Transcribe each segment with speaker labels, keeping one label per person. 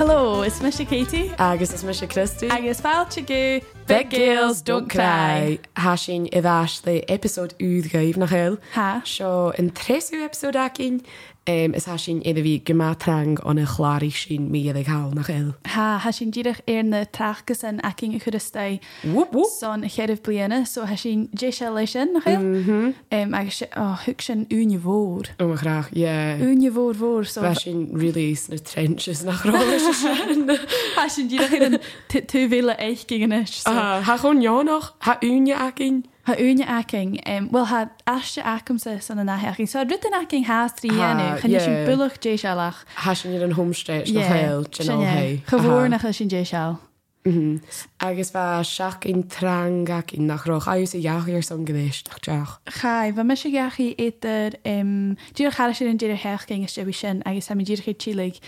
Speaker 1: me sé Katie
Speaker 2: agus is me sé Christú
Speaker 1: agus fáilte go begéils don cry.
Speaker 2: Tá sin i bhheis le episód úd gaibh nach heil
Speaker 1: Tá.
Speaker 2: Seo an treú episód acin um, is há sin idir bhí gomátrang an na chláirí sin mí ag háil nach eil.
Speaker 1: Ha ha sin ddíireach ar na trachas an aking a chudastai
Speaker 2: Whoop, whoop.
Speaker 1: san a cheirh bliana so ha sin dé se lei sin nach mm -hmm. um, agus sé- ó, thug sin úne mhór.
Speaker 2: ó marach é
Speaker 1: Úne mhór mhór so
Speaker 2: Tá sin rilís na trenches nachrá
Speaker 1: ha sin ddíireach ar an túhéle éich giganis.
Speaker 2: Tá chun neánach Tá úne acin
Speaker 1: Ha úne aking um, well ha aiste acumsa san an naching so ru an aking há trí
Speaker 2: Ha,
Speaker 1: ennu chan sin
Speaker 2: yeah.
Speaker 1: bulach dé seach.
Speaker 2: Tá sin iad an homsteid nach heil
Speaker 1: Gehór nach sin dé seall.
Speaker 2: agus bheit seach in trangach in nachrách agus i jaachir san gnéist nach teach.
Speaker 1: Chai, bha me sé gachi étar dúr chara sin an déidir hechgéing is sebi sin agus sam dúr chu tílaigh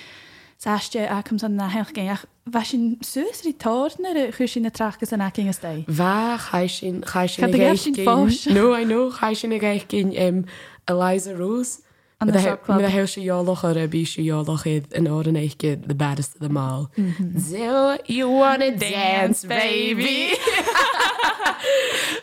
Speaker 1: sáiste a cum san na hechgéing ach bha sin suas í tórna a chu sin na trachas an aking is dai.
Speaker 2: Bhe chai sin chai sin
Speaker 1: Cad a gaith sin fós.
Speaker 2: nó a nó chai sin a gaith cin im ehm, Eliza Rose.
Speaker 1: An the Shop Club.
Speaker 2: a heil sé jólach ar a bí sé jólach iad an áan éige the baddest of them all. Zo you wanna Mhm. dance baby.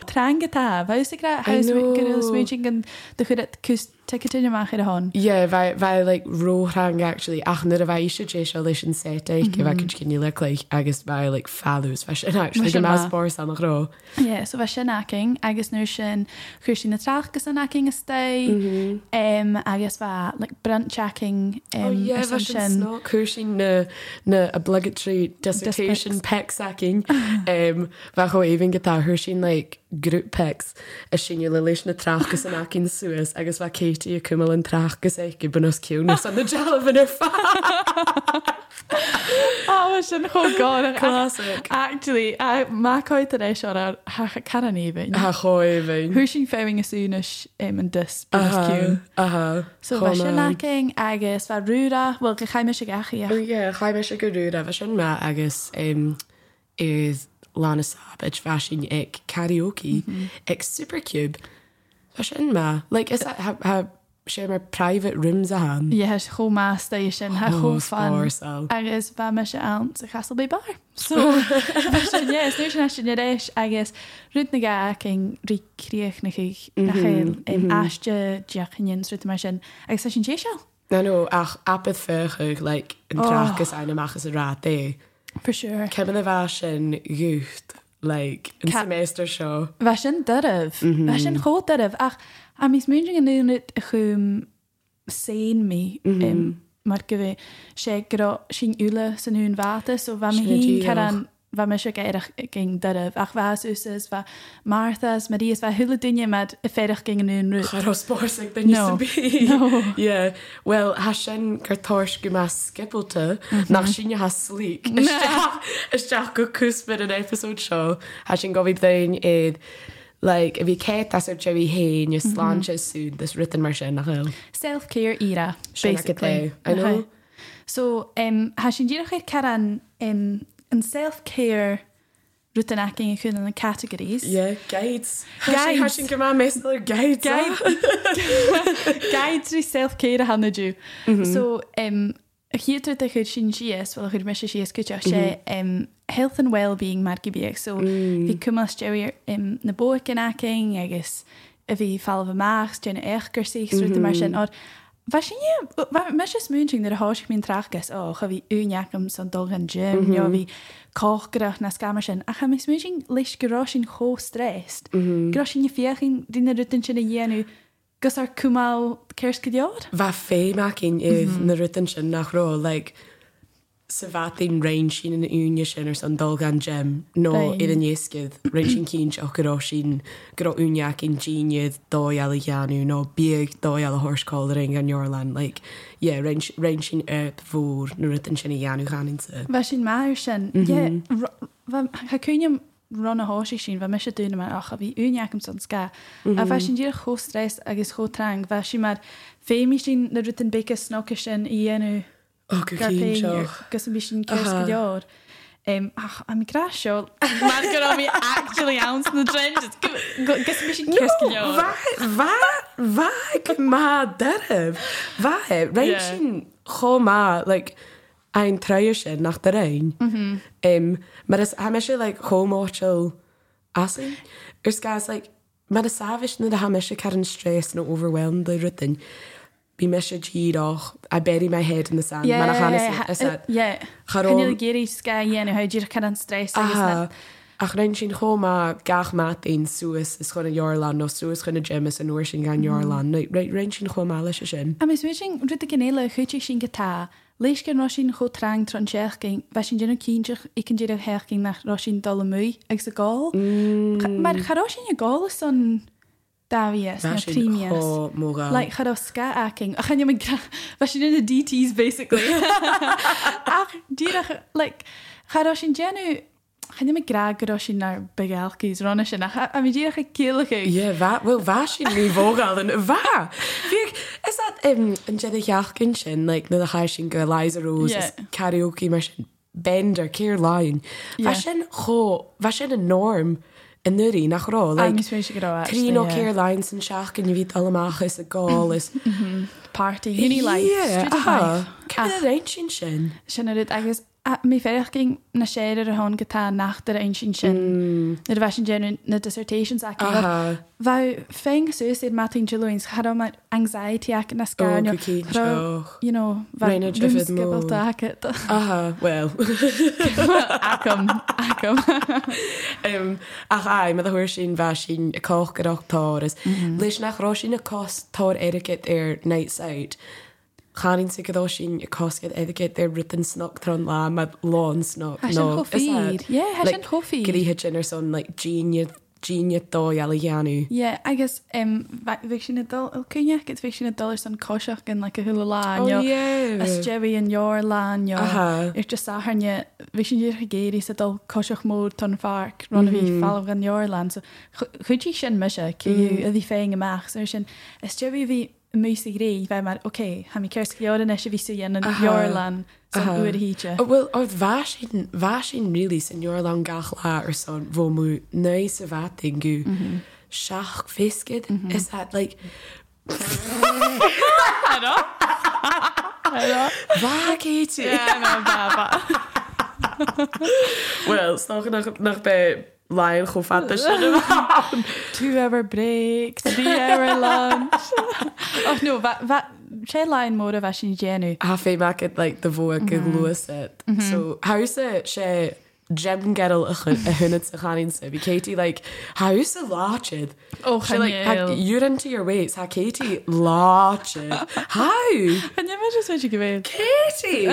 Speaker 1: Trangatá, bha sa gra
Speaker 2: know.
Speaker 1: smúing an do chud cus teine amach ar a hon.
Speaker 2: Yeah, bhei bhei like róhrang actually ach nar a bheith isio dé se leis an séte go bheith cin cinní le lei agus bheith like fallús fe sin actually go
Speaker 1: sin
Speaker 2: más
Speaker 1: maith.
Speaker 2: bór san nach ró.
Speaker 1: Yeah, so bheit sin aking agus nuair sin chuir sin na trachas an aking is dai um, agus bha like, brand checking um,
Speaker 2: Oh,
Speaker 1: ar san sin.
Speaker 2: cuasin na na obligatory dissertation peck sacking um bheit cho éhín gotá thuair sin le grúp pecks a sinne le leis na trachas an acin suasas agus bheit Katie a cumil an trachas é go bunas ciúna san na jalahan ar fa
Speaker 1: Á sin choá
Speaker 2: Classic.
Speaker 1: Actually mááid a éis ar hacha caraníhain.
Speaker 2: a choéhhain
Speaker 1: Thú sin féing asúnis im an dus
Speaker 2: Uh-huh,
Speaker 1: buú. So bheit sin naking agus bheit rúra bhfuil go chaime sé gachaí
Speaker 2: chaimime se goú a bheit sin me agus um, is lána sab it fashion ag karaoke ag supercube Tá sin me like is that- ha- ha sé mar private rooms a han
Speaker 1: Dhéis chomá station ha
Speaker 2: Oh,
Speaker 1: chó fan.
Speaker 2: fársal.
Speaker 1: agus bheit me se an sa Castlebay bar. So nu sin sin éis agus ruút na ga cin ríríoch na um, chuich
Speaker 2: Mm-hmm,
Speaker 1: nachchéil im aiste deachchainn ruúta mar sin agus sé sin dé seall.
Speaker 2: No no ach apad fuchuig le an trachas einachchas a rá é
Speaker 1: For sure.
Speaker 2: Ceban a bhe sin gúcht le an
Speaker 1: Ca-
Speaker 2: semester seo
Speaker 1: Bheit sin duibh
Speaker 2: Mhm.
Speaker 1: Bheit sin cho duibh ach a mís muing an únit a chum sé mí
Speaker 2: Mhm.
Speaker 1: im mar go bhéh sé gur sin úla sanún bhata so bha
Speaker 2: Sin a
Speaker 1: hí
Speaker 2: díolch.
Speaker 1: an bha me se éireach gin duibh ach bheits úsas bheit mátas maríos bheit thula duine me i féidirch gin an únrú.
Speaker 2: chur spósig den
Speaker 1: No. No.
Speaker 2: Yeah. Well ha sin gur toirs go me skippelta
Speaker 1: Mhm.
Speaker 2: nach sinne ha slík Isteach go cúspid an episód seo ha sin go bhí dain iad le a bhí cé as ar tehí héin
Speaker 1: Mhm.
Speaker 2: is sláse súd dus rutan mar sin nach hill.
Speaker 1: Self-care ira
Speaker 2: Sin ag a
Speaker 1: basically.
Speaker 2: dé, I know.
Speaker 1: Okay. So um, ha sin ddíach ir cean an an self-care rutan acin a chun an categories.
Speaker 2: Yeah, gaiids Gaiid sin go mé gaiid
Speaker 1: Gaid- Gaid trí selfcéir a hanaú. So um, hiidir a chud sin sios bhil chud me sé sios go teach sé um, health and well-being mar go bíag so bhí cumas deir um, na bó in aking agus a bhí fall bh meach déna échgur síú mar sin á. Bha sin me sé smúting ar a háis mín trachas ó chu bhí úneacham san dul an gym jo bhí cóchgrach na scamar sin a cha mé smúting leis gorá sin chó strest. Gro sin fiochin dína rutin sin na dhéanú gus ar cumá ceirs go deod?
Speaker 2: Bheit féach in iad na rutan sin nach rá le sa bhatín rain sin in úne sin ar san dul gan gem nó
Speaker 1: Right.
Speaker 2: iad an héiscid rain sin cíns ó gorá sin go úneach in díiad dóheala cheanú nó beag dóheala thusáil ring an Jorland le rain sin eb mhór na rutan sin i dheanú chaanse.
Speaker 1: Bheit sin máir sin
Speaker 2: Mhm.
Speaker 1: chuúneim run a háí sin bheit me sé dúna mar acha bhí úneachcham san sca a
Speaker 2: Mhm.
Speaker 1: bheit sin díar chóstreis agus chótrang bheit sin mar féimi sin na rutin beice snoca sin i dhéanú
Speaker 2: Ó go cinn seoch.
Speaker 1: gus an bhí sin ceirs go deod. Um, ach, a mi gra seo mar go mí actually an na dre gus mé sin ceirs go deod.
Speaker 2: Bhaig má deh
Speaker 1: Yeah.
Speaker 2: Bhaib réin sin chomá ein treir sin nach de rein. Um, mar is ha me se like, homáil as Ers ga like, mar a savis na a ha me se kar an stress no overwhelm de rutin. Bí me se tíach a bury my head in the sand mar a hanna is it. Charol-
Speaker 1: géirí sca dhéana haidir chu an stress agus
Speaker 2: Aha.
Speaker 1: na-
Speaker 2: Ach rein sin choma gach mat ein Sues is chun a Jorland no Sues chun a James an nuir sin gan
Speaker 1: Mhm.
Speaker 2: Jorland. rein sin choma lei se sin.
Speaker 1: A mes mé sin rud a gnéile chuúte sin gotá, leis cin roisin cho trang transeach cin, bheit sin dénne císeach ag an déidir hecin nach roisin dal muí ag sa gáil.
Speaker 2: Mm.
Speaker 1: Cha- Mar chará sin a gála san davías na prímias. Like
Speaker 2: Like,
Speaker 1: chará ska aking a chan bheit sin in na DTs basically. Ach díach like chará sin dénu channe me gra gorá sin nar begelkis ranna sin a cha- a mé díach a céalaige.
Speaker 2: yeah, va, well, va sin ní bógal an va. Fiag, is dat um, an jedi jaachkin sin like, na a ha sin go Liza Rose
Speaker 1: Yeah.
Speaker 2: is karaoke mar sin bender céir láin.
Speaker 1: Yeah.
Speaker 2: Va sin cho va sin a norm in nuí nach rá.
Speaker 1: Like,
Speaker 2: Like,
Speaker 1: mé se gorá.
Speaker 2: Trí ó céir lein san seach gan bhí talach is a gá is
Speaker 1: party uni life
Speaker 2: Yeah,
Speaker 1: student
Speaker 2: uh-huh.
Speaker 1: life.
Speaker 2: aha. Cad a rein sin sin.
Speaker 1: sin rid agus a- mi ferch ging na séidir a hon gotá nachtar ein sin sin na bheit sin genu na dissertations a
Speaker 2: Mm. Aha.
Speaker 1: Bá féng sus iad matin Joins chadá mar anxiety ac na scarne
Speaker 2: go cinn teach.
Speaker 1: you know
Speaker 2: Rheina drifid mór.
Speaker 1: bheitabal
Speaker 2: Aha, Uh-huh. well.
Speaker 1: acum acum
Speaker 2: um, ach ai, mae hwyr sy'n fa sy'n y coch gyda'r tors. Lys nach ro sy'n y cos tor eriget er nights out. Chanin sy'n gyda sy'n y cos gyda eriget er rytyn snog tron la, mae lôn snog.
Speaker 1: Has
Speaker 2: no,
Speaker 1: an
Speaker 2: is
Speaker 1: chofid
Speaker 2: that-
Speaker 1: yeah has
Speaker 2: like,
Speaker 1: an chofid
Speaker 2: Gyda hyn ar son, like, genia, genia doi alianu.
Speaker 1: Yeah, I guess um vi sin adul cynne gets vi sin adul an cosiach in like a hula lá
Speaker 2: Oh,
Speaker 1: you know,
Speaker 2: yeah.
Speaker 1: Is Jerry in your lan jo
Speaker 2: Aha.
Speaker 1: Ir just a harne vi sin dir gegéri se dal koch mór tan fark run vi fall gan your land so chu ti sin me se ki a vi féing amach so sin is Jerry vi musi gré ve mar oké ha mi kers jóden e se vi se jen an your land so uer hiche
Speaker 2: Oh, well, oedd fa sy'n, fa sy'n really sy'n yw'r lan gach la ar son, fo mw neis y fa tingu. Siach fisgyd, is that like, fa gei ti? Wel, snach nach, nach be laen chw ffanta sy'n
Speaker 1: two hour break three hour lunch oh no va- va- sé lein mór a bheit sin dénu
Speaker 2: A fe mac at like the fwy ag mm lwys it. So, hawys y se gem gerol y hwnnw sy'n chanin sy'n, fi Katie like, hawys y lachyd.
Speaker 1: Oh,
Speaker 2: She like, ha-
Speaker 1: Chanel.
Speaker 2: you're into your weights, ha Katie lachyd. How?
Speaker 1: me se go
Speaker 2: Katie.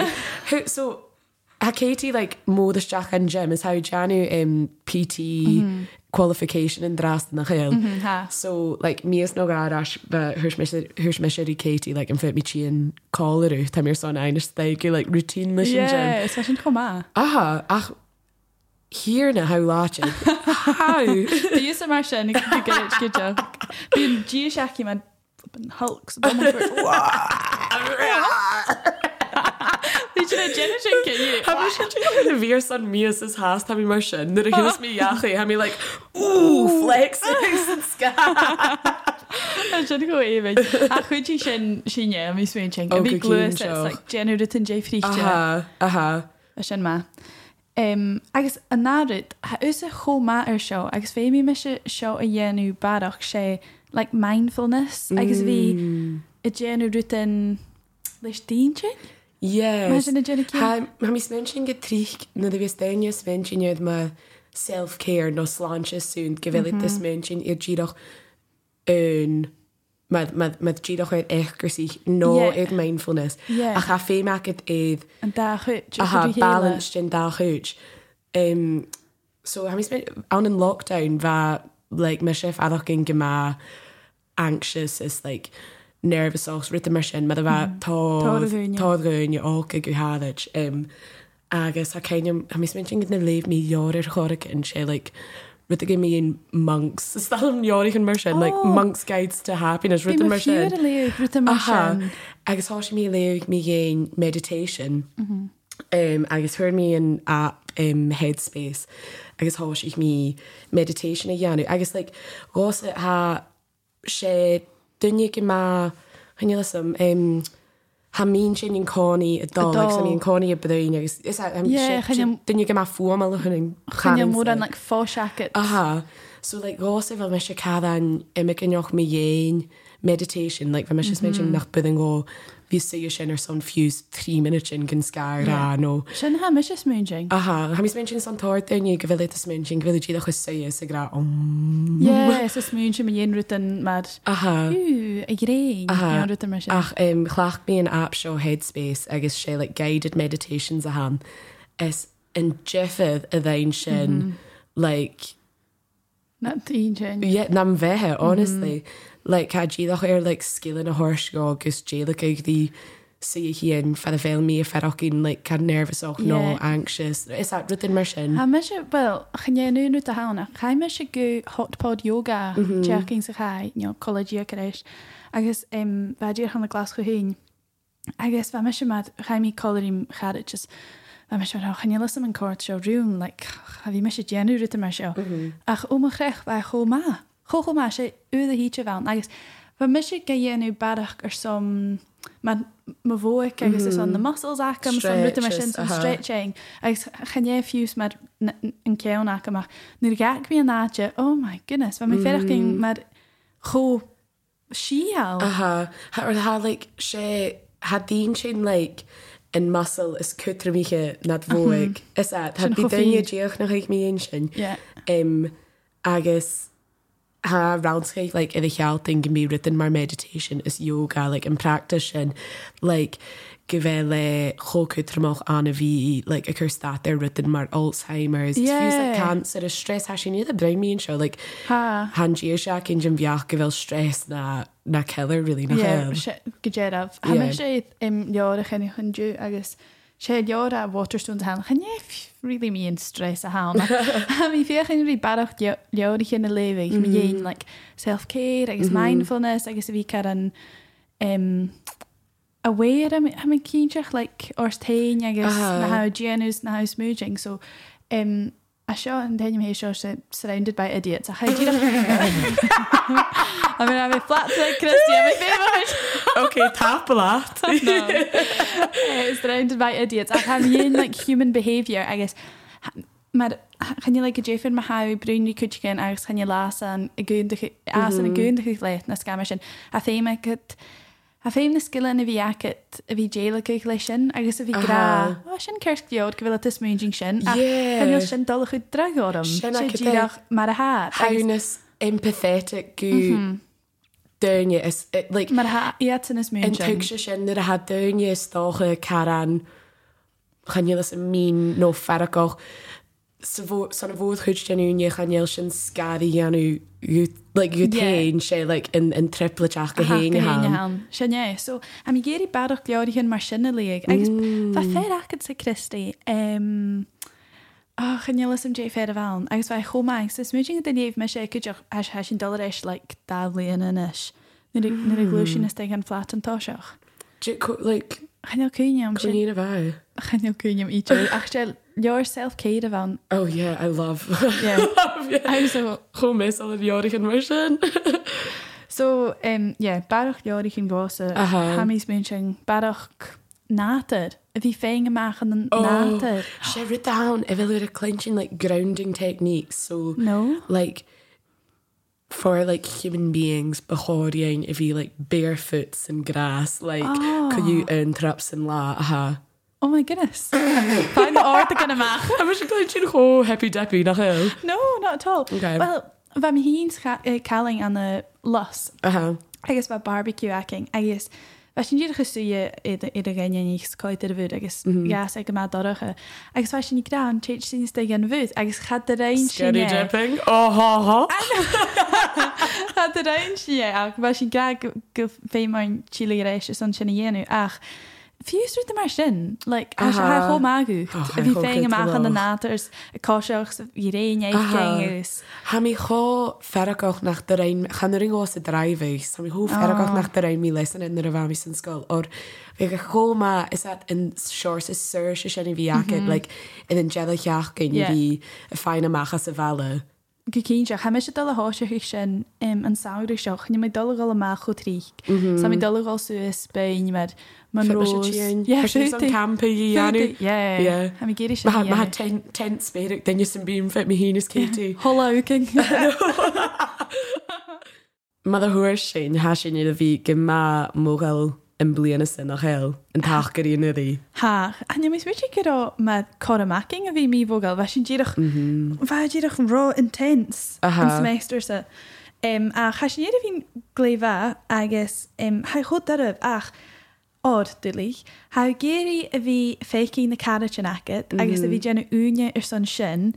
Speaker 2: Who, so, ha Katie like more the Jack and Jim is how Janu um, PT qualification in Dras na Hill.
Speaker 1: ha.
Speaker 2: So like me is no garash, but hers mishiri Katie like in fit me chi and call her out. Time your son Inish like you like routine mission Jim.
Speaker 1: Yeah, sin chomá.
Speaker 2: Aha, ach here na how latching. how?
Speaker 1: Dí sem mar sin goide. Bhín dí seaachí man hulks Bhí sin gene sin
Speaker 2: Have you
Speaker 1: cinniu.
Speaker 2: should you the veer son me is his has time emotion. That he was me yachi. I mean like ooh flexing sky.
Speaker 1: sin go éid a Ah, chutí sin sinne mí swain sin
Speaker 2: Oh,
Speaker 1: bhí
Speaker 2: go
Speaker 1: glúis
Speaker 2: cinn teach.
Speaker 1: genú an déríte
Speaker 2: Aha, aha.
Speaker 1: a sin má. Um, agus a nárit ha ús a chomá ar seo agus féimi me se seo a dhéanú barach sé like mindfulness agus bhí
Speaker 2: Mm.
Speaker 1: i dhéanú ruúin leis dínse
Speaker 2: Yes.
Speaker 1: Imagine a Jenny Kim.
Speaker 2: Ha mi smenchen getrich na de vestenia smenchen jed ma self care no slanche soon gevelit this mention ir giroch un met met met giroch uit echtkersich no
Speaker 1: Yeah.
Speaker 2: uit mindfulness.
Speaker 1: Yeah.
Speaker 2: A ga fe maak het eid
Speaker 1: an da chut
Speaker 2: aha balanced in da huge. Um so ha mi smen on in lockdown va like my chef adach in gema anxious is like nervous os rhythm sin mar bheit
Speaker 1: Táirgúine.
Speaker 2: táúin óca go Um, háid agus a céim a mis menting na léh mí jóir choraigh in sé like ru a mí on monks Is that an jóirich an mar sin like
Speaker 1: Oh.
Speaker 2: monks guides to happiness ru mar sin Aha.
Speaker 1: Aha.
Speaker 2: Agus há mí le mí géin meditation. Um, agus thuir mí an app um, headspace agus hás ich mí meditation a dheanú. agus like, gás ha sé dunne go má chune um, ha mín sin in cóí a dá
Speaker 1: dá.
Speaker 2: san íon cóí a bedaine agus is
Speaker 1: Yeah, chuine-
Speaker 2: dunne go má fuam le hunning
Speaker 1: Chunne mór an like, fá jacket.
Speaker 2: Aha. So like gossip fel mis caddan imig yn ioch mi iein meditation, like fel mis mm -hmm. mention nach byddin go fi sy'n sy'n ar son fuse 3 minutes yn gyn sgar yeah. a no.
Speaker 1: Sin ha mis is moonjing.
Speaker 2: Aha, ha mis mention son tor dyn ni gyfylu tas mention gyfylu ti ddech sy'n sy'n gra om.
Speaker 1: Yeah, is moonjing mae un rwy'n mar.
Speaker 2: Aha.
Speaker 1: Yw, a grein.
Speaker 2: Aha.
Speaker 1: Iawn rwy'n mis.
Speaker 2: Ach, um, chlach mi an app seo Headspace agus sé like guided meditations a han is yn jeffydd y ddein sin mm -hmm. like
Speaker 1: Na, un jing.
Speaker 2: Yeah, nam bheitthe
Speaker 1: Mm-hmm.
Speaker 2: honestly like had díadach ar like skillin a horse go agus déla go dí si híon fe a bhéil mí a ferachín like cad nervous och
Speaker 1: Yeah.
Speaker 2: nó anxious is that rutin mar sin
Speaker 1: Ha mis is, well, chynnu nhw dy hawna. Chai mis is gw hot pod yoga. Jerking sy'n chai, nio, college year gyda'r. Agus, um, fe di'r hana glas chw hyn. Agus, fe mis is mad, chai mi color i'm charad, just, fe mis is mad, chynnu lysam yn cwrt sio rŵm, like, ha fi mis is jenw rwy'n mis is. Ach, umm, o mwch rech, fe chw ma. Chw chw ma, se, yw ddy hi ti fel. Agus, fe mis is gael enw barach ar som, mae'n my voic agus is on the muscles ac am son rwy'n mis is
Speaker 2: Stretches,
Speaker 1: on
Speaker 2: aha.
Speaker 1: stretch stretching. Agus chynnu fiws mae'r yn cewn ac yma. Ni'r gag mi yn adje, oh my goodness, fe mi fferach gen mae'r chw sial.
Speaker 2: aha Uh-huh. ha or ha like sé had dín sin like in muscle is cutra míe nad
Speaker 1: Mm-hmm.
Speaker 2: bhig is that had
Speaker 1: Sin
Speaker 2: bí
Speaker 1: chomh
Speaker 2: daine
Speaker 1: féin.
Speaker 2: díoch nach ag mí sin
Speaker 1: Yeah.
Speaker 2: um agus ha roundskate like if a heal thing can be written my meditation is yoga like in practice and like gyfele chokutramach an a fi like a curse that they're written mar Alzheimer's yeah. it's fuse like
Speaker 1: Yeah.
Speaker 2: cancer is stress has she knew the brain mean show like
Speaker 1: Ha.
Speaker 2: han gia shack in jim viach gyfel stress na na killer really na
Speaker 1: Yeah,
Speaker 2: yeah.
Speaker 1: gyderaf.
Speaker 2: Yeah.
Speaker 1: Ha mae eisiau um, ior a chynnu hwn diw, agos se ior a Waterstones hal, chynnu really mi yn stres a hal. Ha mi ffiach yn rhi barach ior i chyn y lefi, mi ein like self-care, agos mindfulness, agos fi car yn um, aware am am yn cynchach like o'r tein agos
Speaker 2: Aha.
Speaker 1: na how genus na how smoothing so um a sio yn dyn mi sio se surrounded by idiots a chai dira I mean I'm a flat to Christy I'm a favourite
Speaker 2: okay tap a lot
Speaker 1: uh, surrounded by idiots a chai mi yn like human behaviour agos mae'r chan i like a jeffin mae hawi brwn i cwtchigan agos chan i las an y gwn dych as an y
Speaker 2: Mm-hmm.
Speaker 1: gwn dych let na scamish a theim ac A féim na skillin a bhí acet a bhí déla go lei sin agus a bhí gra. Ó uh, oh, sin ceirc deod go bhfuil a smúing sin a
Speaker 2: Uh-huh. Yeah.
Speaker 1: chuil sin dul chu dragorm
Speaker 2: Sin
Speaker 1: sé
Speaker 2: ac a
Speaker 1: ddíach mar a há
Speaker 2: hawness empathetic goo mm-hmm. Dyrnia is it, like
Speaker 1: mar ha iad san is
Speaker 2: En
Speaker 1: smúing.
Speaker 2: tug sé sin ar a ha daine stácha caran chanélas a mí nó ferach san a bhód chuid denúne chanéil sin scaí anú gutain sé le an triplateach
Speaker 1: Uh-huh,
Speaker 2: go héine ha.
Speaker 1: Sinné, so am i géirí barach leir hinn mar sinna léag agus Tá fér acad sa Christi um, oh, chanéla sem dé fér a bhán agus bheit chomáin sa smúing a danéomh me sé chuideach as he sin dul éis le dáhlaíon in is. Nid y glwysyn ysteg yn fflat yn tosiach. Chanel cwiniam sin
Speaker 2: Chlíine bhe.
Speaker 1: Chanel cwiniam i drwy. Ach, Jill, your self-care fan.
Speaker 2: Oh yeah, I love
Speaker 1: Yeah. I'm so...
Speaker 2: chu mé a bheorich an mar sin.
Speaker 1: So, um, yeah, barach iori chi'n gosa.
Speaker 2: Aha.
Speaker 1: Hamis mewn sy'n eh, barach nater. If you fang yn mach yn
Speaker 2: Oh,
Speaker 1: nater.
Speaker 2: Sé ri down a bhfuil ar a clenching like grounding techniques so
Speaker 1: No.
Speaker 2: like for like human beings behoring if you like barefoots and grass like could you earn traps and la aha
Speaker 1: Oh my goodness. Find the orth yn y mach.
Speaker 2: I was glitching ho happy dappy nach hell
Speaker 1: No, not at all.
Speaker 2: Okay.
Speaker 1: Well, fe mi hi'n caling an y lus.
Speaker 2: aha
Speaker 1: agus ba barbecue aking agus was sin dieige suje idir gan ich skoit er vud agus
Speaker 2: Mhm.
Speaker 1: gas ag ma dorige agus was sin gra an teit sin ste gan vud agus gaat de rein
Speaker 2: scary
Speaker 1: sin
Speaker 2: dipping oh ha ha
Speaker 1: gaat de rein sin ach was sin gra go fé mein chili dus reis is an sin yenu ach Fiúsú de mar sin, like, as
Speaker 2: Aha.
Speaker 1: ha go magu.
Speaker 2: Oh,
Speaker 1: A bhí
Speaker 2: chai
Speaker 1: féin
Speaker 2: chomh
Speaker 1: amach an de
Speaker 2: cuid
Speaker 1: nátars, a cóiseach i réin
Speaker 2: Aha.
Speaker 1: éic agus.
Speaker 2: ha mi ho ferach nach der ein gan ring os drive so mi ho ferach nach der ein mi lesson in der vami sin skull or we go ma is that in shorts is sir shiny viaket like in angelic yach can you
Speaker 1: Yeah.
Speaker 2: be a fine machas a vale
Speaker 1: go císe cha se dola háise chu sin an saoir seach ní mé dolaáil amach chu trí
Speaker 2: Mhm.
Speaker 1: Sa mí dolaáil suas ben mar man
Speaker 2: campa í anú
Speaker 1: Ha mí géidir
Speaker 2: má tent spéidir danne san bím feit mé hínas cétí.
Speaker 1: Hollauking
Speaker 2: Mother thuair sin há sin iad a bhí go má mógail an bliana sin nach heil an tachaí nuí.
Speaker 1: Ha an mis wit go me chomaking a bhí mí bógal bheit sin ddíireach bheidirach an rá intens
Speaker 2: Mhm. Aha.
Speaker 1: meister se. Um, a chaisinéad a bhín gléha agus um, ha chud darh ach ád dulí. Tá géirí a bhí féicín na carat sin agat,
Speaker 2: Mhm.
Speaker 1: agus a bhí déanna úne ar san sin.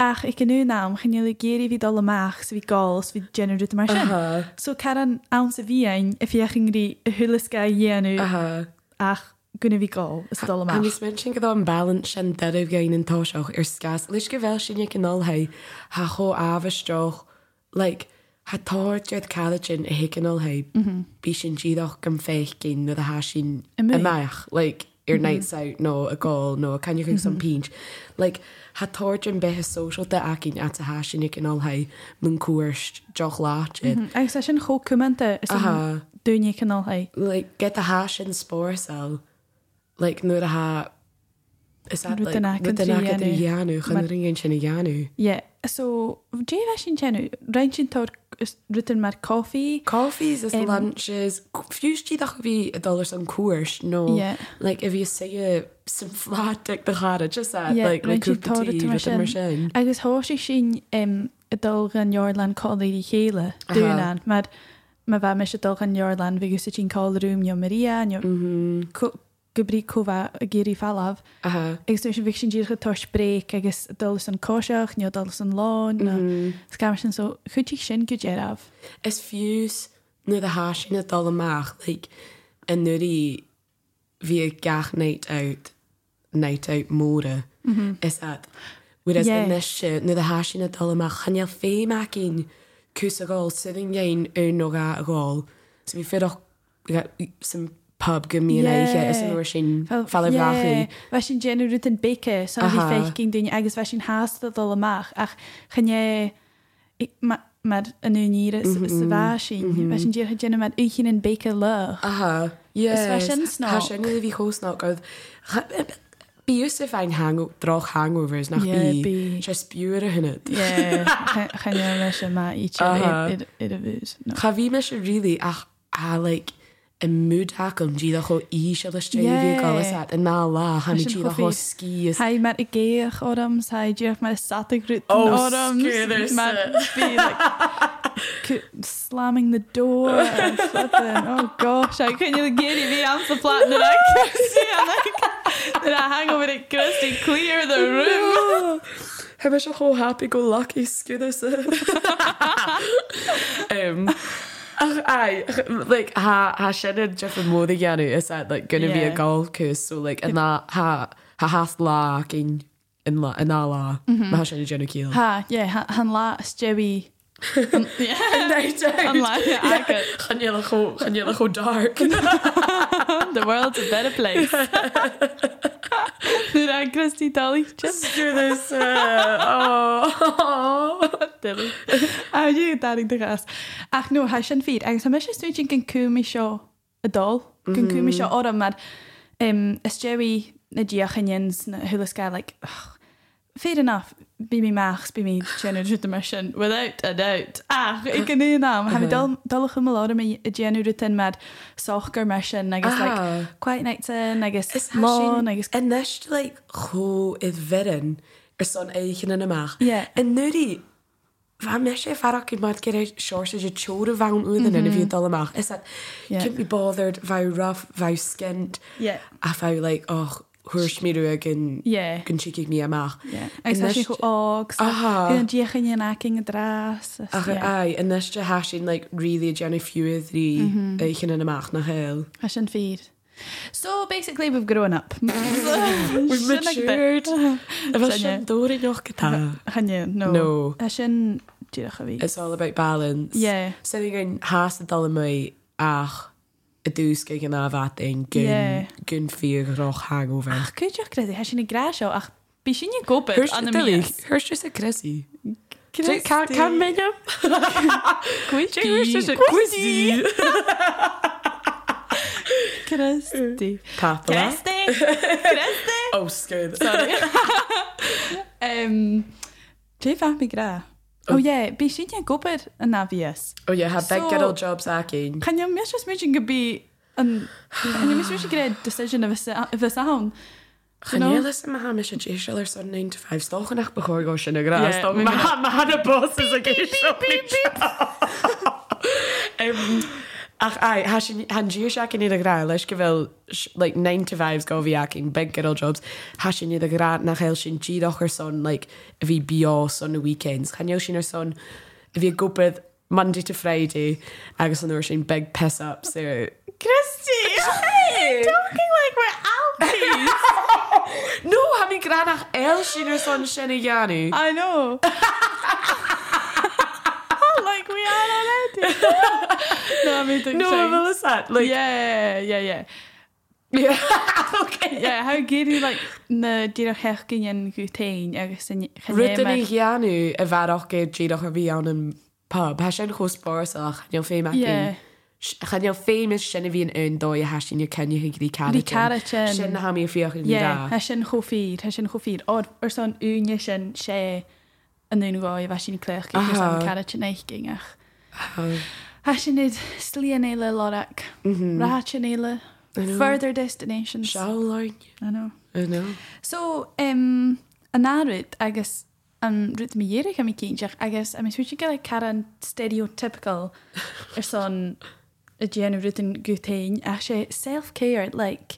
Speaker 1: Ach i canú nám chinile géirí bhí dul amach sa bhí gáils bhí generú mar sin.
Speaker 2: Aha.
Speaker 1: So car an an sa bhíin a fiochan rí a thulasca dhéanú ach gona bhí gá is dul
Speaker 2: Má
Speaker 1: amach.
Speaker 2: níos men sin go dá an bailint sin deadh gain an táiseach ar scas, leis go bhil sin an náthe ha cho ahaisteoch le hatáirtead cad sin a hicanolthe bí sin tíadach go féich cin na a há sin
Speaker 1: I mé.
Speaker 2: meach le ar nightá nó a gáil nó a canne chun san pinint. Le hatáir an bethe social de acinn at a há sin anolthe mun cuairt joch láit in.
Speaker 1: Agus sé sin cho cumanta is
Speaker 2: Aha.
Speaker 1: dúine canálthaid.
Speaker 2: like get the hash and spore cell like nu a ha is that
Speaker 1: Rwyt
Speaker 2: like
Speaker 1: yn
Speaker 2: rwyt yn
Speaker 1: acen
Speaker 2: ac yn
Speaker 1: tri
Speaker 2: y ianw
Speaker 1: Ma-
Speaker 2: chan yr er ingen sy'n y ianw
Speaker 1: Ie, so dé bheit sin tenu, rein sin tóir rutan mar coffií,
Speaker 2: coffees is
Speaker 1: Em.
Speaker 2: lunches fuse ti ddech fi y dollars yn cwrs no
Speaker 1: Ie.
Speaker 2: like if you say a symphatic the chara just that
Speaker 1: Ie,
Speaker 2: like
Speaker 1: rwyt ti'n
Speaker 2: like group of
Speaker 1: torri
Speaker 2: tea
Speaker 1: ti mar
Speaker 2: with the
Speaker 1: sin.
Speaker 2: machine
Speaker 1: agus háise sin um, i dul an Jorland choí chéile dúnan, mar má bheit me se dul an Jorland vigus sé sin callrúm jo Maria Mhm. gobrí cóha a géirí fallh.
Speaker 2: aha
Speaker 1: Agus sin vi sin díircha tos breik agus dul an cóiseach nó dul an
Speaker 2: Mhm.
Speaker 1: lán sca sin so chutí sin go déirah.
Speaker 2: is fuse nu the hash in a dollar mach like and nuri via gach night out night out mora is that whereas
Speaker 1: Mm-hmm. Yeah.
Speaker 2: in this shit nu the hash in a dollar mach can you fee making kus a goal sitting gain un noga a goal so we fit up we got some pub give me an
Speaker 1: Yeah.
Speaker 2: eiche is in our shin fala rachi
Speaker 1: Bheit sin déanú ruút an beice san bhí
Speaker 2: Aha.
Speaker 1: féich cin duine agus bheit sin háasta dul amach ach chenne mar anúníire sa
Speaker 2: Mhm.
Speaker 1: bhe sin bheit sin ddíorcha déanana mar uchinn an beice le.
Speaker 2: aha yeah
Speaker 1: sin snog.
Speaker 2: hashin nu vi ho snog oedd eh, Bí use fein hang droch hangovers nach
Speaker 1: Yeah,
Speaker 2: bí
Speaker 1: bí.
Speaker 2: sé spúre hinnet.
Speaker 1: chenne lei sem má í
Speaker 2: Aha.
Speaker 1: ar a bhús.
Speaker 2: Cha bhí me se rilí ach a like, i múdach an díad chu í se le
Speaker 1: Yeah.
Speaker 2: stréá an ná lá ha
Speaker 1: Leis an
Speaker 2: mí tí le
Speaker 1: chofaí.
Speaker 2: cí is
Speaker 1: Tá mar i ggéoch orms ha ddíoch mar satagruút
Speaker 2: Oh, screw
Speaker 1: slamming the door and flipping. oh gosh I couldn't even get it on the flat that I can't see I'm like that I hang over it goes to clear the room
Speaker 2: He me se cho happy go lucky scuúidir se Em, Ehm, ach, aye, like, ha ha sinnne je an móda geanú eh, is at, like, gonna be a
Speaker 1: Yeah.
Speaker 2: gáilcus so like, an ná- ha ha has lá cin in lá in á lá má sinna genú cíal.
Speaker 1: Mm-hmm. ha yeah han- han la Joey yeah han la I could
Speaker 2: Chanéla cho chanéla cho dark.
Speaker 1: the world's a better place Did I Christy Dolly just
Speaker 2: Screw this.
Speaker 1: eh,
Speaker 2: Uh, oh.
Speaker 1: Dilly. A dú daring de gas. Ach nó he sin fid, agus me sé stúin gin cúmi seo a dul
Speaker 2: Mhm.
Speaker 1: gon cúmi seo orm mar um, is Jerry na ddíochans na thulasca like, ugh, fair enough bí mi meachs bí mi genú mar sin without a doubt. Ach i ganú ná
Speaker 2: Uh-huh.
Speaker 1: ha dul go lá mé a genú tin mar sochgur mar sin agus
Speaker 2: Ah.
Speaker 1: like, quite night sin agus
Speaker 2: Is
Speaker 1: lá agus
Speaker 2: En nes like go it verren is son eigen in de maag.
Speaker 1: Yeah.
Speaker 2: En nu die Waar mes je vaak ook iemand keer shorts je chore van uden en wie het allemaal is dat
Speaker 1: Yeah.
Speaker 2: can't be bothered wou rough wou skint
Speaker 1: Yeah.
Speaker 2: af wou like oh, och hoor smeerig en
Speaker 1: Yeah.
Speaker 2: kan chick ik me maag
Speaker 1: agus he sin go ágs
Speaker 2: Aha.
Speaker 1: an ddíochan an aking a drás.
Speaker 2: Ach, ai, yn nes je hashin like really jenny few three eigen in de maag na hel
Speaker 1: I shouldn't feed. So basically, we've grown up.
Speaker 2: We've
Speaker 1: We've
Speaker 2: matured. Er was
Speaker 1: Sonja.
Speaker 2: een door in nog gedaan.
Speaker 1: Hanya, no.
Speaker 2: No.
Speaker 1: I shouldn't. It's,
Speaker 2: It's all about balance.
Speaker 1: Yeah.
Speaker 2: Sitting in haast het allemaal ach. Y dŵs gyda gyda fat ein gyn,
Speaker 1: Yeah.
Speaker 2: gyn ffyr roch hangover.
Speaker 1: ach, could you crazy? I shouldn't grass out. Ach, be shouldn't you go bit
Speaker 2: Hwrs
Speaker 1: on
Speaker 2: y
Speaker 1: the
Speaker 2: dylu,
Speaker 1: meals.
Speaker 2: hwrs jyst y gresi. Can menam? Cuisí
Speaker 1: Christy.
Speaker 2: Papa
Speaker 1: Christy. Christy.
Speaker 2: Óscaid
Speaker 1: Um, Dé fa mi gra. Oh, O ie, bu sin i'n gwybod yn afias.
Speaker 2: ó dé ha
Speaker 1: So-
Speaker 2: begad ó jobs a cén.
Speaker 1: Can you miss me sy'n gybu yn... Can you miss me sy'n gyda decision y fysa hawn? know?
Speaker 2: Chanélas a ha me sin éisiil ar san 9 to 5 stochanach bechóir go sin ará
Speaker 1: Yeah, we might-
Speaker 2: hana bos is a géisio Ach ai, ha sin han díir se cin iad a grá leis go bhfuil s- like 9 to 5 go bhí acin big girl jobs ha sin iad a grá nach heil sin tíadach ar son like a bhí bio son na weekends Chaneo sin ar son a bhí gopad Monday to Friday agus an uair sin big piss up so
Speaker 1: Christy! Hey! Talking like we're aunties!
Speaker 2: No ha mi granach el sin ar son sinna gheanú
Speaker 1: I know. Oh, like we are already. no, I mean, the
Speaker 2: No,
Speaker 1: same.
Speaker 2: well, is that like
Speaker 1: Yeah, yeah, yeah.
Speaker 2: yeah, okay.
Speaker 1: Yeah, how geary like na dira herkin yn gwtein agos yn
Speaker 2: Rydyn ni gianw y farwch gyda gyrwch ar fi iawn yn pub. Ha sy'n chwrs boros o'ch, chan yw'n ffeim ac
Speaker 1: Yeah.
Speaker 2: yn... Chan yw'n ffeim ys sy'n i fi yn yn doi a ha sy'n yw'n cynnig i gyda'i carachin.
Speaker 1: carachin.
Speaker 2: Sy'n na ham i'n ffioch yn
Speaker 1: Yeah,
Speaker 2: dda.
Speaker 1: hysyn chwffir, hysyn chwffir. O, o'r son yw'n ysyn se yn un goi fa sy'n clech gyda'r
Speaker 2: Aha.
Speaker 1: sam carach yn eich gyngach. Hysyn nid slian eile lorach, rahachin eile, further destinations.
Speaker 2: Siaw loin.
Speaker 1: I know.
Speaker 2: Yno.
Speaker 1: So, um, yn arwyd, agos yn rwyt mi ierig am i cynsiach, agos am i switio gael caran stereotypical yr son y gen i rwyt yn gwtein, a se self-care, like,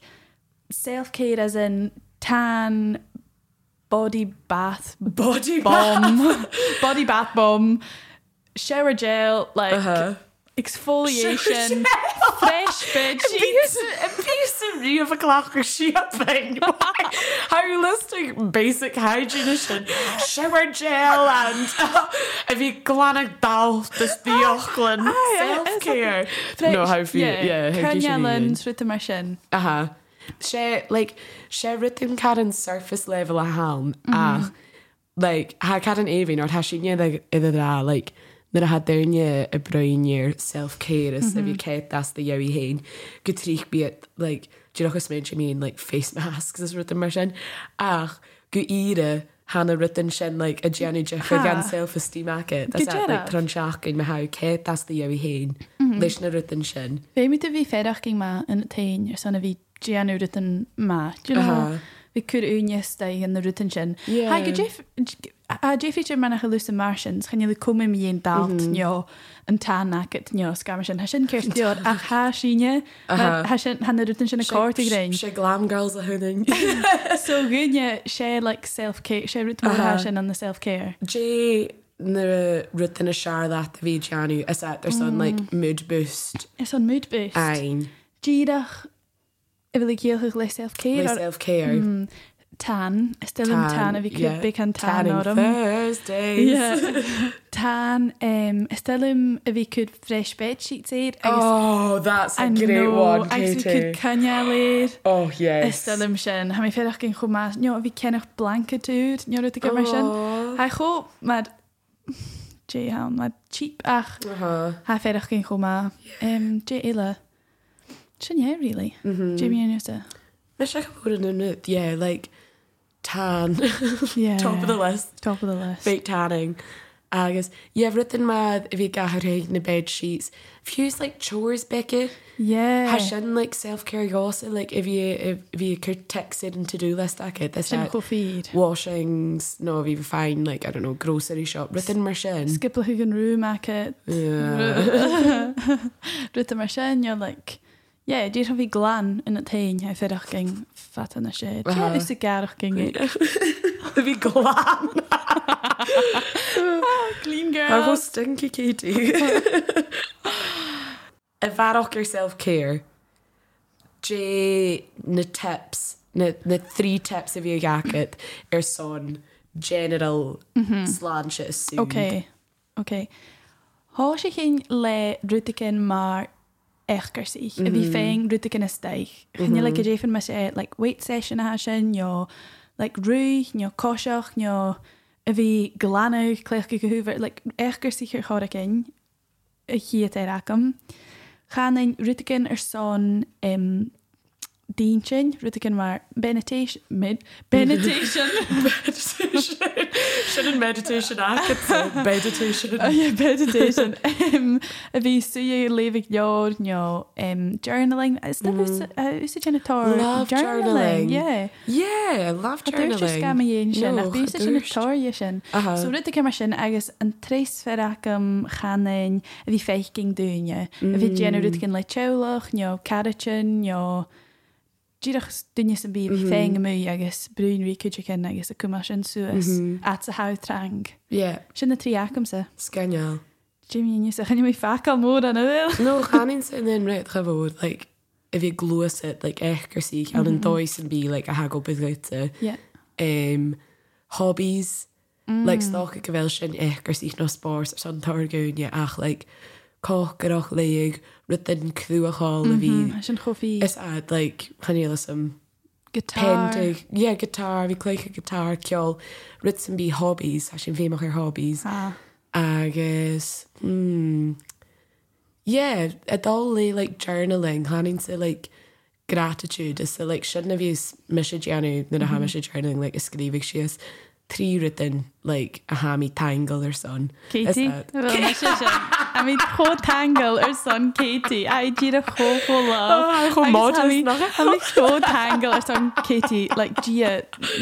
Speaker 1: self-care as in tan body bath
Speaker 2: Body
Speaker 1: bomb, body bath bomb, shower gel, like,
Speaker 2: Uh-huh.
Speaker 1: exfoliation, fresh bed sheets.
Speaker 2: piece of real of a clock or she up thing. How you listing basic hygiene and shower gel and if you glanic dal this the Auckland
Speaker 1: Aye,
Speaker 2: self care.
Speaker 1: Fresh-
Speaker 2: No, how you yeah, how you
Speaker 1: Cernyelan, rwyt yma sin.
Speaker 2: Uh-huh. She like she rhythm cadden surface level a ham. Ah. Like ha cadden even or has she near the either that like Nid a had there nye a brain year self care is if you kept that's the yowie hain. Good trich be it like do you know what's mentioned mean like face masks is written mar sin. Ach go ire Hannah written sin like a Jenny Jeffrey
Speaker 1: Ha.
Speaker 2: gan self esteem acket.
Speaker 1: Go
Speaker 2: That's that like
Speaker 1: deireadh.
Speaker 2: tranchach in my how kept that's the yowie hain. Lish na written sin.
Speaker 1: Fe mi dy fi fedach gyn ma yn y tein, ys yna fi gian yw rydyn ma. Do you know?
Speaker 2: Uh-huh.
Speaker 1: Fi cwyr yw'n ystau yn y rydyn sin.
Speaker 2: Yeah.
Speaker 1: Hai, Jeff, a Jeff eich ymwneud â'ch lwys y Martians, chan yw'n cwm ym un dalt nio, yn tan ac at nio, sgam sin. Hasyn cyr diod, a ha sy'n ie, hasyn, han y rydyn sin y cwrt i grein.
Speaker 2: She glam girls a hooning.
Speaker 1: So gyn ie, she like self-care, she rydyn mor hasyn yn the self-care.
Speaker 2: Jay na rutin a siar that a bhí Janu is that there's some
Speaker 1: Mm.
Speaker 2: like mood boost
Speaker 1: Ys o'n mood boost.
Speaker 2: ein
Speaker 1: Gyrach, efo i gael eich le self-care.
Speaker 2: like
Speaker 1: ar-
Speaker 2: self care
Speaker 1: Mm, tan, ystod yn tan, a fi cwb bych yn tan
Speaker 2: Tanning
Speaker 1: o'r um, am.
Speaker 2: Thursdays
Speaker 1: Yeah. Tan, um, ystod yn y fi cwb fresh bed sheets eir.
Speaker 2: oh that's a great one
Speaker 1: Agos fi cwb
Speaker 2: Katie
Speaker 1: cynial eir.
Speaker 2: oh yes
Speaker 1: Ystod yn sy'n, ha mi ffeirach gyn chwb mas, nio, fi cennych blanket yw'r, nio rwy'n gyfer sy'n.
Speaker 2: Oh.
Speaker 1: Ha chw, mae'r, jay hawn, mae'r cheap ach,
Speaker 2: Uh-huh.
Speaker 1: ha ffeirach gyn chwb ma, um, jay eila. Sy'n ie, really.
Speaker 2: Mm-hmm.
Speaker 1: Jamie and Yusta.
Speaker 2: Mish I could put it in it yeah like tan
Speaker 1: Yeah.
Speaker 2: top of the list
Speaker 1: Top of the list.
Speaker 2: fake tanning. Agus, yeah, everything mad if you got her in the bed sheets. If you use like chores, Becky,
Speaker 1: Yeah.
Speaker 2: has in like self care also like if you if, if you could text it and to do list like it, this
Speaker 1: Sy'n
Speaker 2: out.
Speaker 1: chw ffid.
Speaker 2: Washings, no, if you find like I don't know grocery shop, written machine.
Speaker 1: Skipper who can room market.
Speaker 2: Yeah,
Speaker 1: Ruta mar sin you're like yeah, do you have a glan in a tain I said ging fat in a shed. Yeah,
Speaker 2: Uh-huh.
Speaker 1: it's a garach ging.
Speaker 2: if you glam.
Speaker 1: Clean
Speaker 2: I
Speaker 1: girl.
Speaker 2: was stinky Katie. if I rock your self care, Jay the tips, the three tips of your jacket are son general slant shit assumed.
Speaker 1: Mm-hmm. Okay. Okay. Há sé chin le ruútacin mar echgarsaí a bhí féin ruútacin isteich. Chnne le go déann me sé like weight session athe sin nó like ruúich nó cóiseach nó a bhí glána chléch go gohúver le echgur si chur chora cin a chiad éachcham. Chaanain rutagin ar son um, Deantin rutagin mar benetation mid benetation
Speaker 2: Sin an meditation
Speaker 1: Oh,
Speaker 2: meditation.
Speaker 1: meditation um, a bhí suú levig jóor nó um, journaling uh, is úsatá
Speaker 2: Mm. Love journaling.
Speaker 1: yeah.
Speaker 2: Yeah, love journaling.
Speaker 1: gaíon sin
Speaker 2: No, Uh-huh.
Speaker 1: a bhí sin
Speaker 2: chadúirt.
Speaker 1: natáir sin.
Speaker 2: Aha.
Speaker 1: So ruta ce mar sin agus an trééis ferracham chaanain a bhí féicing dúine. A
Speaker 2: Mm.
Speaker 1: bhí déanú ruta cin le teach nó caratin nó díireach duine san bí
Speaker 2: Mm-hmm.
Speaker 1: bhí féin mú agus brúnrí cuiide cin agus a cumá sin
Speaker 2: Mm-hmm.
Speaker 1: suasas at sa hátrang.
Speaker 2: Yeah,
Speaker 1: Sin na tríacham sa.
Speaker 2: scanneal.
Speaker 1: Jimmy a chenne mé facha mór an bhfuil.
Speaker 2: No chanin sin in réit chahód like if you glúas it like echgur sí an an dóis an bí like a ha go beglute
Speaker 1: Yeah.
Speaker 2: um hobbies like stock a gohfuil sin echgur sí nó spás san targóne ach like có goch léig rutin cruú a há a bhí
Speaker 1: sin chofií
Speaker 2: is ad like chanéla some
Speaker 1: guitar.
Speaker 2: pendig yeah guitar vi léiche guitar ceol rit an bí hobbies a sin féach ar hobbies
Speaker 1: Ah,
Speaker 2: agus mm, yeah adá le like journaling hanin sa like gratitude is sa like sin a bhís mis déanú na a
Speaker 1: Mm-hmm.
Speaker 2: haimi sé journaling like iscríbh sios trí ritin like a haí tangle ar son Is
Speaker 1: Katie
Speaker 2: that-
Speaker 1: dus, a mí cho tangal ar son Katie Ah, a dí a choó
Speaker 2: Oh, chomh maith is nach-
Speaker 1: cho tangal ar son Katie le dí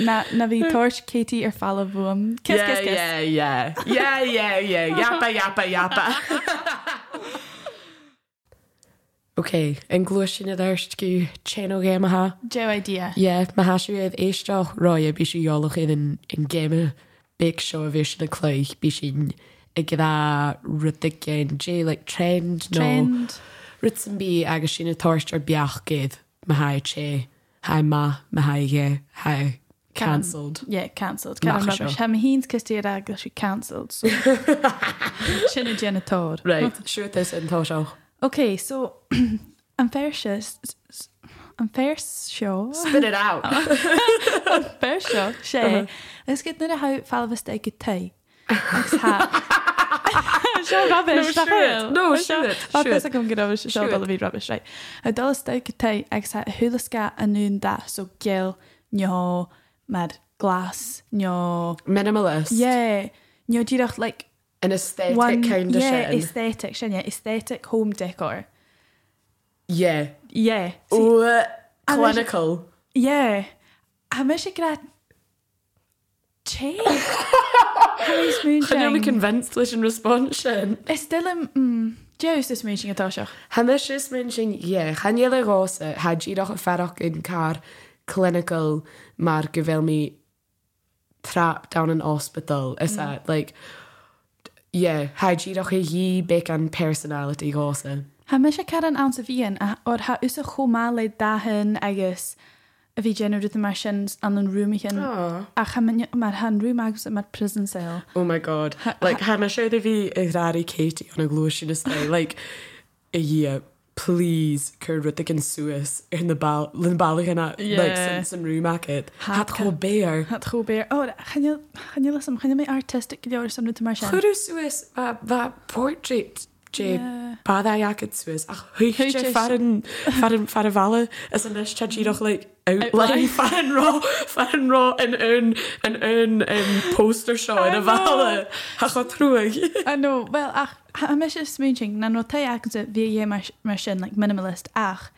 Speaker 1: na na bhí toirt Katie ar fall bhm
Speaker 2: yeah, yeah, yeah, yeah, yeah, yeah, yappa, yappa, yappa. Oké, en gloos sin het eerst gu channel game ha.
Speaker 1: Jo idea
Speaker 2: Ja, ma ha si ef eisteach roia bí si jolach in an- in game big show a vision a cloich bí sin ag gyda ryddig gen jé like trend no
Speaker 1: trend
Speaker 2: Ritsen bí agus sin a torst ar biach gyd ma ha che ha ma ma ha ge ha cancelled.
Speaker 1: yeah cancelled
Speaker 2: Nach
Speaker 1: Karen
Speaker 2: a seo.
Speaker 1: Roberts. ha híns custí agus she cancelled so. sinna genitó
Speaker 2: Right, siwr this yn tosioch.
Speaker 1: okay so an fair an fair show
Speaker 2: Spit it out.
Speaker 1: Beir seo
Speaker 2: Uh-huh.
Speaker 1: sé Is go nuair a ha fallhasta ag go ta
Speaker 2: No, shoot it. No, shoot it. Shoot
Speaker 1: go go
Speaker 2: Shoot.
Speaker 1: bhí rubbish right. A dosta go ta ag sa thulasca a nún da so gil nó mad glas nó
Speaker 2: Minimalist.
Speaker 1: é nó ddíireach le
Speaker 2: An aesthetic
Speaker 1: one
Speaker 2: kind of
Speaker 1: yeah,
Speaker 2: shit.
Speaker 1: aesthetic sinne aesthetic home decor.
Speaker 2: Yeah.
Speaker 1: Yeah.
Speaker 2: Ooh,
Speaker 1: And there's-
Speaker 2: clinical.
Speaker 1: Yeah. A me sé gra Che
Speaker 2: Can you convince this in response?
Speaker 1: Is still mm. Jo's is meeting atá seach.
Speaker 2: Hamish is mentioning, yeah, Haniela Rosa had you not a ferrock in car clinical mar gavel me trapped down in hospital. Is
Speaker 1: Mm.
Speaker 2: that like, yeah, had you not a ye big and personality uh. Rosa?
Speaker 1: Ha me sé car an an sa bhíon or ha ús a chomá le dahan agus a bhí genú mar sin an an rúmichen
Speaker 2: Oh.
Speaker 1: a cha man- mar han rúm agus a mar prison cell.
Speaker 2: Oh my god. Like Hannah showed a V Irari Katie on a glotion display. Like a year, please Kurritic and Suis in the ball in the ball in a like
Speaker 1: Yeah.
Speaker 2: Simpson room market. Had
Speaker 1: Hat
Speaker 2: ho bear.
Speaker 1: Hat cho bé channe sam channe mé artistic leor san mar sin.
Speaker 2: Kudu Suis uh, that portrait J
Speaker 1: Yeah.
Speaker 2: Bada Yakit Suis. Ach hui
Speaker 1: Hoe jy-
Speaker 2: farin farin faravala is an ish chajidoch like outline farin raw farin raw in un in un um, poster show in
Speaker 1: I know.
Speaker 2: a vala. Hachot through.
Speaker 1: I know well ach ha me sé smooching na nó ta agus a bhí dhé mar mar sin like minimalist ach.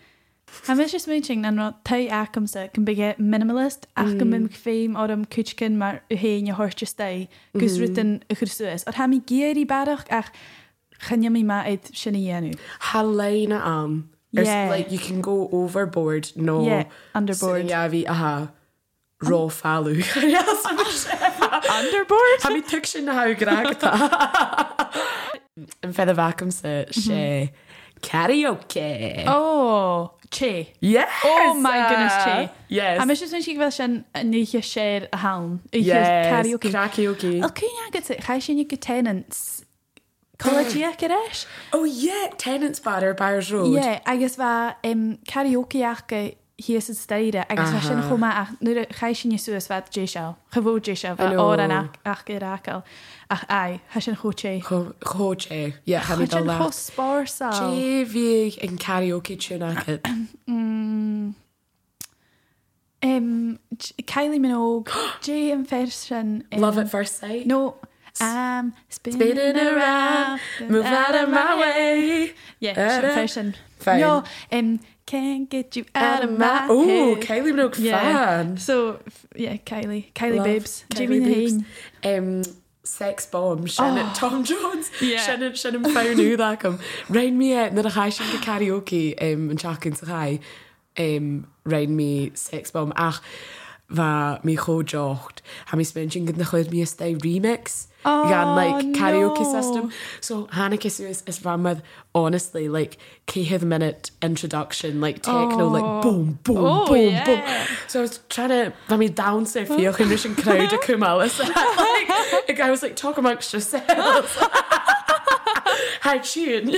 Speaker 1: Ha me sé smooching na nó ta acham sa can bige minimalist ach go
Speaker 2: Mm.
Speaker 1: mim féim orm cúcin mar uhéin a horste sta gus
Speaker 2: Mm-hmm.
Speaker 1: rutan a chur suas or ha mi géirí barach ach channeimi má éid sinna dhéanú.
Speaker 2: Helena am. There's
Speaker 1: Yeah.
Speaker 2: um, like you can go overboard, no
Speaker 1: Yeah, underboard.
Speaker 2: Yavi aha raw falu. Yes.
Speaker 1: Underboard?
Speaker 2: Have you took sin na how gragta? And for the vacuum set,
Speaker 1: Mm-hmm.
Speaker 2: she karaoke.
Speaker 1: Oh, che.
Speaker 2: Yes.
Speaker 1: Oh my goodness,
Speaker 2: uh,
Speaker 1: Che.
Speaker 2: Yes.
Speaker 1: Ha me sé smooching bhil sin a nuiche séir a hán.
Speaker 2: yes.
Speaker 1: Karaoke. Oh.
Speaker 2: Karaoke.
Speaker 1: Alcún agat cha sin go tenants Collegia goéis?
Speaker 2: Oh yeah, tenants bar or bars road.
Speaker 1: Ié, agus bheit um, karaokeach go hí is staire agus
Speaker 2: Uh-huh.
Speaker 1: bheit sin chomá ach nuair a chai sin suas bheit dé seo, chehó dé seo bheit á an ach iráil ach a he sin choté.
Speaker 2: Chóid é le
Speaker 1: spása
Speaker 2: Éhí an karaoke túna
Speaker 1: Keili min óog dé an fer sin em,
Speaker 2: Love at first sight
Speaker 1: No um,
Speaker 2: Spinning around, move out of my way.
Speaker 1: Yeah,
Speaker 2: Uh,
Speaker 1: sin fer sin.
Speaker 2: Fine.
Speaker 1: No, um, can't get you out of my
Speaker 2: Oh,
Speaker 1: head.
Speaker 2: Kylie Minogue
Speaker 1: Yeah.
Speaker 2: fan.
Speaker 1: So f- yeah, Kylie, Kylie
Speaker 2: Love
Speaker 1: Babes,
Speaker 2: Kylie
Speaker 1: Jamie
Speaker 2: Babes.
Speaker 1: Hayne.
Speaker 2: Um, sex bomb Shannon Tom Jones
Speaker 1: Yeah.
Speaker 2: Shannon Shannon fearnú acham Rein mi é na a chais sin go karaoke um, an chakin sa chai um, Rein mi sex bomb ach bha mi chójocht ha mi spen sin go na chuid mi sta remix
Speaker 1: Oh,
Speaker 2: gan like karaoke
Speaker 1: no.
Speaker 2: system so Hannah Kisuis is farmad honestly like céhead minute introduction like techno
Speaker 1: Oh.
Speaker 2: like boom boom
Speaker 1: Oh,
Speaker 2: boom
Speaker 1: yeah.
Speaker 2: boom So I was trying to, I mean, downstairs for your condition crowd to come out. It's Like, like, I was like, talk amongst yourselves. Hi, tune.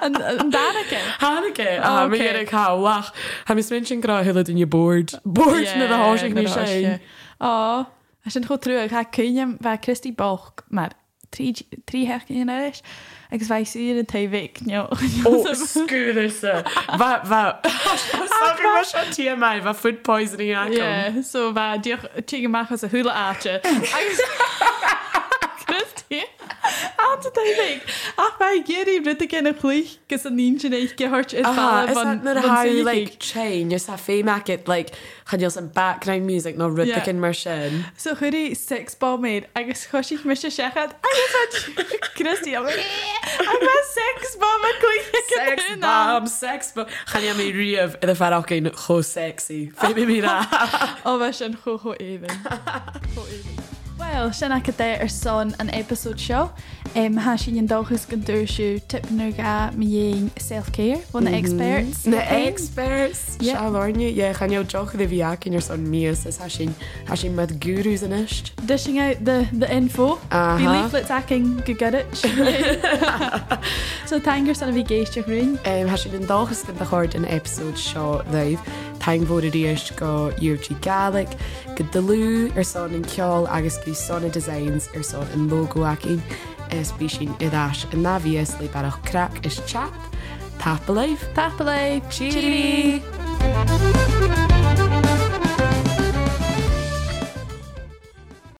Speaker 1: and, and Danica.
Speaker 2: Hanukkah. Ah, mi
Speaker 1: Okay.
Speaker 2: gyda cael wach. Ha mi smynsion gyda hwyl ydyn ni bored. Bored na dda hosig ni sy'n.
Speaker 1: Ó, a sin go trú cha cúinem bheit Christí Balch mar trí hecin éis agus bheit siú an taimhic neo
Speaker 2: Oh, O, sgwyr ysa. Fa, fa. Sorry, mae sian TMI, fa food poisoning ac o'n.
Speaker 1: so bheit dioch tí amachchas a thula áte agus Christí á taimhic ach bheit géirí rita cin na chlí gus an níon sin éich gehort is
Speaker 2: Aha, is that not how you like change? Is that fame market like had you some background music, no rhythmic
Speaker 1: Yeah.
Speaker 2: yeah. immersion?
Speaker 1: So chuirí six bomid agus chuisiich me se sechad agus Christí a bheit six bomb a
Speaker 2: Sex
Speaker 1: chuig
Speaker 2: bomb, sex bomb. Gaan jij mee rieven in de verrokking? Go sexy. Vind je me raar?
Speaker 1: ó bheit sin chocho éan. Well, sin a dé ar son an episód seo um, há sin an dogus go dúisiú tipnar ga mi dhéon selfcéir bhna
Speaker 2: Mhm.
Speaker 1: experts
Speaker 2: De experts.
Speaker 1: Ja.
Speaker 2: Ja, Lorne, jij gaat jouw joch de viak in je zo'n mies. Dus als je- als je met gurus in is.
Speaker 1: Dishing out the, the info
Speaker 2: Aha.
Speaker 1: Bhí leaflet acting go garit So tangur san a bhí géisteach rin
Speaker 2: Um, has je den dag eens kunt gehoord in episode show live. Time voor de eerst go UFG Gaelic, go de Lou, er zo'n in kjol, agus go sonne designs, er zo'n in logo aki. Es bishin idash in navies li barach crack is chat. Tap alive.
Speaker 1: Tapa lei
Speaker 2: Cheerie.
Speaker 1: Cheerie.